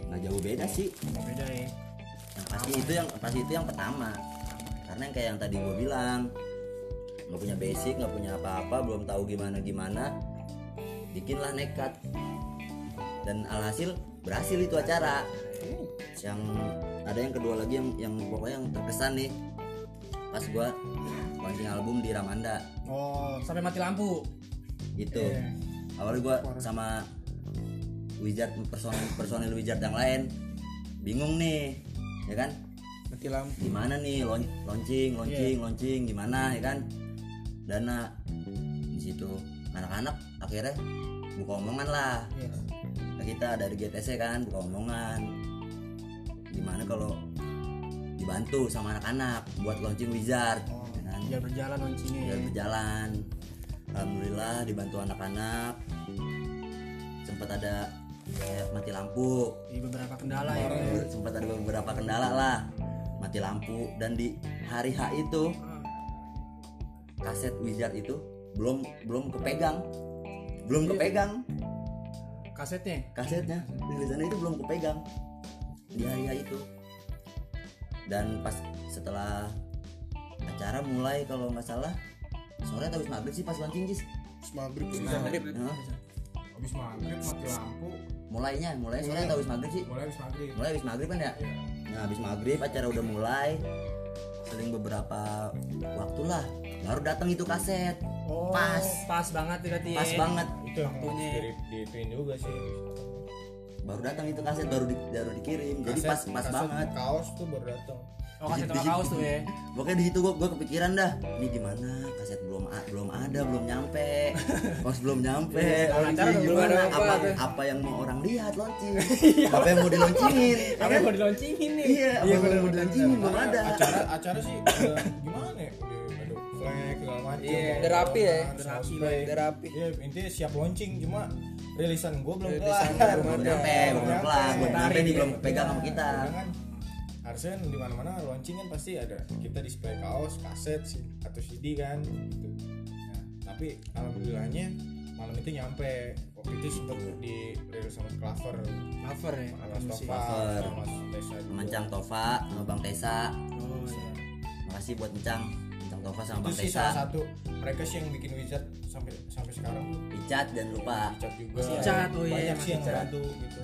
E: nggak jauh beda sih
D: beda ya
E: Yang pasti itu yang pasti itu yang pertama karena yang kayak yang tadi gue bilang nggak punya basic nggak punya apa-apa belum tahu gimana gimana bikinlah nekat dan alhasil berhasil itu acara yang ada yang kedua lagi yang yang pokoknya yang terkesan nih pas gua launching album di Ramanda
D: Oh, sampai mati lampu.
E: itu awalnya gitu. gua sama wizard personil personil wizard yang lain bingung nih ya kan
C: mati lampu
E: gimana nih lon- launching launching launching gimana ya kan dana di situ anak-anak akhirnya buka omongan lah Nah, kita dari GTC kan buka omongan gimana kalau dibantu sama anak-anak buat launching wizard
D: Oh,
E: ya kan?
D: Biar berjalan
E: biar
D: launchingnya. ya.
E: berjalan alhamdulillah dibantu anak-anak sempat ada kayak mati lampu
D: Di beberapa kendala ya.
E: sempat ada beberapa kendala lah mati lampu dan di hari H itu kaset wizard itu belum belum kepegang belum kepegang
D: Kasetnya.
E: kasetnya rilisannya itu belum kepegang di hari hari itu dan pas setelah acara mulai kalau nggak salah sore atau habis maghrib sih pas launching Jis.
B: Terus maghrib
J: Maghrib.
E: Nah,
K: habis maghrib mati lampu
E: mulainya mulai sore atau habis maghrib sih
K: mulai habis maghrib
E: mulai habis maghrib kan ya nah habis maghrib acara udah mulai seling beberapa waktu lah baru datang itu kaset pas
D: Pas banget berarti. ya,
E: pas banget
K: itu
D: Waktunya.
K: di diituin juga sih
E: baru datang itu kaset baru di, baru dikirim jadi pas pas banget
H: kaos tuh baru datang
D: Oh, kaset sama kaos tuh ya.
E: Pokoknya di situ gua, gua kepikiran dah, ini gimana? Kaset belum a- belum ada, belum nyampe. Kos belum nyampe.
D: acara
E: Ini
D: belum ada
E: gimana? Apa apa yang mau orang lihat launching? apa yang mau diloncingin? Ya
D: Apa
E: kan?
D: yang mau diloncingin nih?
E: Iya, apa yang mau diloncingin belum ada.
H: acara acara sih udah gimana ya udah ada flag segala macam
D: Iya.
H: ada
C: Udah rapi ya?
H: ada
D: Udah rapi,
H: display.
C: udah rapi.
H: iya intinya siap launching cuma rilisan gue belum kelar
C: Rilisan belum
E: Belum nyampe, belum kelar, belum nyampe nih belum pegang sama kita.
H: Karena kan harusnya di mana mana launching kan pasti ada kita display kaos kaset si- atau CD kan gitu. Nah, tapi alhamdulillahnya malam itu nyampe waktu itu sempat di rilis sama cover
D: Cover ya.
H: Mas Tova
E: Cover.
H: sama Mas Tessa juga.
E: Mencang Tova sama Bang Tesa.
D: Oh, iya.
E: Makasih buat Mencang. Mencang Tova sama
H: itu
E: Bang
H: sih salah
E: Tesa.
H: satu mereka sih yang bikin wizard sampai sampai sekarang
E: Icat jangan lupa.
H: Icat juga
D: Si Icat, oh iya,
H: banyak
D: Mas
H: sih yang
D: Icat.
H: bantu gitu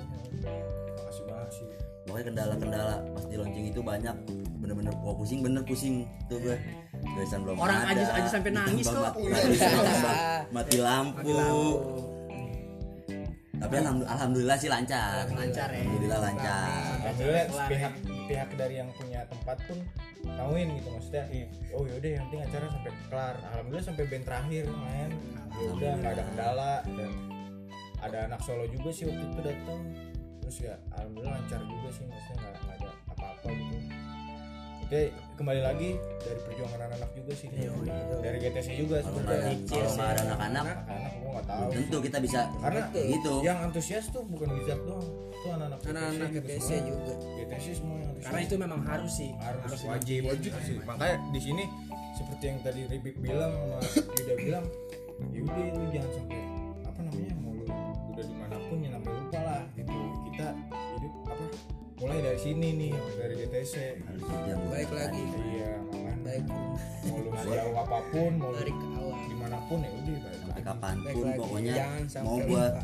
H: makasih banget sih
E: Pokoknya kendala-kendala pas di launching itu banyak bener-bener gua pusing bener pusing tuh gue tulisan belum
D: Orang
E: ada.
D: ajis- ajis sampai nangis
E: Ditambah
D: tuh.
E: mat- ditambah mati lampu tapi alhamdu- alhamdulillah sih lancar
D: Lancar ya.
E: alhamdulillah lancar
H: alhamdulillah
D: kelar,
H: pihak pihak dari yang punya tempat pun tahuin gitu maksudnya
D: Iya.
H: oh yaudah yang penting acara sampai kelar alhamdulillah sampai band terakhir main udah nggak ada kendala dan ada anak solo juga sih waktu itu datang terus ya alhamdulillah lancar juga sih maksudnya nggak nggak ada apa-apa gitu oke kembali lagi dari perjuangan anak-anak juga sih
D: Iya,
H: dari GTC juga
E: kalau nggak ada kalau nggak ada anak-anak
H: anak-anak gua nggak tahu
E: tentu kita bisa
H: karena ya.
E: gitu
H: yang antusias tuh bukan wizard doang tuh anak-anak
C: anak-anak GTC
H: semua.
C: juga
H: GTC semua yang
D: Karena
H: antusias.
D: itu memang harus sih.
H: harus, wajib
B: Wajib sih.
H: makanya di sini seperti yang tadi Ribik bilang sama Yuda bilang yaudah lu jangan sampai apa namanya mau lu udah dimanapun yang namanya lupa lah gitu kita hidup apa mulai dari sini nih dari DTC
E: Harus yang
C: baik lagi
H: iya makan
C: baik
H: mau lu sejauh apapun mau lu
C: dari ke awal
H: dimanapun ya udah balik
E: sampai
H: lagi.
C: baik
E: kapanpun
C: lagi
E: pokoknya
C: jangan sampai
E: mau gua
C: lupa.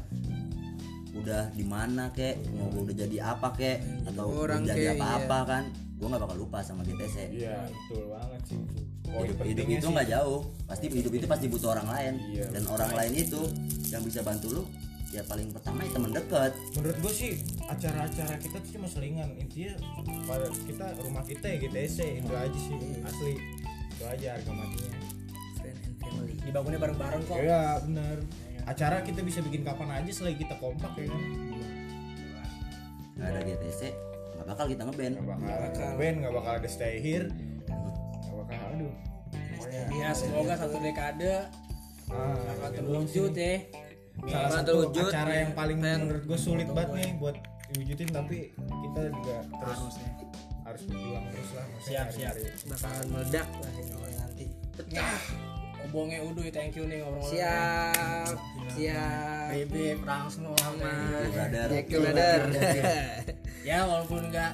E: udah di mana kek mau gua udah jadi apa kek atau
C: Iya, Orang
E: udah jadi
C: kek, iya.
E: apa-apa kan gua nggak bakal lupa sama GTC
H: iya betul banget sih itu Poin
E: hidup, hidup
H: pentingnya
E: itu
H: sih,
E: nggak jauh pasti hidup itu pasti butuh orang lain
H: Iya,
E: dan orang lain itu yang bisa bantu lu ya paling pertama ya teman dekat
H: menurut gue sih acara-acara kita tuh cuma selingan intinya pada kita rumah kita ya GTC itu aja sih asli itu aja harga matinya
C: friend and family
D: Dibangunnya bareng-bareng kok.
H: ya benar acara kita bisa bikin kapan aja selagi kita kompak ya kan
E: nggak ada GTC nggak bakal kita ngeband
C: Iya,
H: nggak bakal band nggak bakal ada stay here nggak bakal aduh pokoknya
D: Ya, semoga satu dekade
H: ah,
D: bakal terwujud ya.
H: salah
C: Bakal
H: satu
C: terwujud.
H: acara yang paling menurut ya. gue sulit banget nih buat diwujudin tapi kita juga terus harus, berjuang terus lah maksudnya
D: Siap, siap.
H: nyari-nyari.
C: bakalan meledak lah ini nanti
D: Obongnya Uduy, Ya, thank you nih ngobrol.
C: siap siap
D: Bebe, Prangsno, Ahmad.
E: brother
C: thank you brother
D: ya walaupun nggak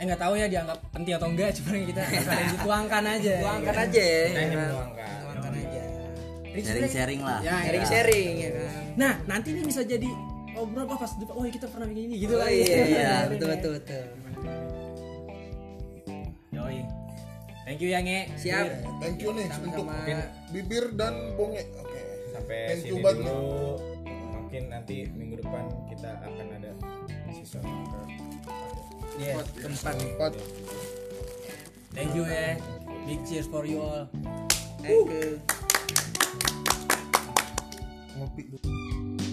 D: eh nggak tahu ya dianggap penting atau enggak cuman kita asalnya dituangkan aja
C: tuangkan aja ya
H: kan? Iya. Kita hanya menuangkan.
C: tuangkan aja
E: sharing-sharing lah
I: Ya,
C: sharing sharing ya kan
D: Nah, nanti ini bisa jadi obrolan apa pas depan, oh kita pernah bikin ini gitu
C: oh,
D: lah.
C: iya, iya
D: Sharing
C: betul
D: ya.
C: betul betul
D: Yoi. Thank you ya, Nge.
C: siap
D: Biar.
B: Thank you nih untuk
C: sama-sama
B: bibir dan bonge. Oke.
H: sampai
B: Thank you
H: sini
B: banget.
H: dulu mungkin nanti minggu depan kita akan ada season
D: Iya.
C: keempat
B: Empat.
D: Thank you ya. Big cheers for you all.
C: thank you
B: Ngopi.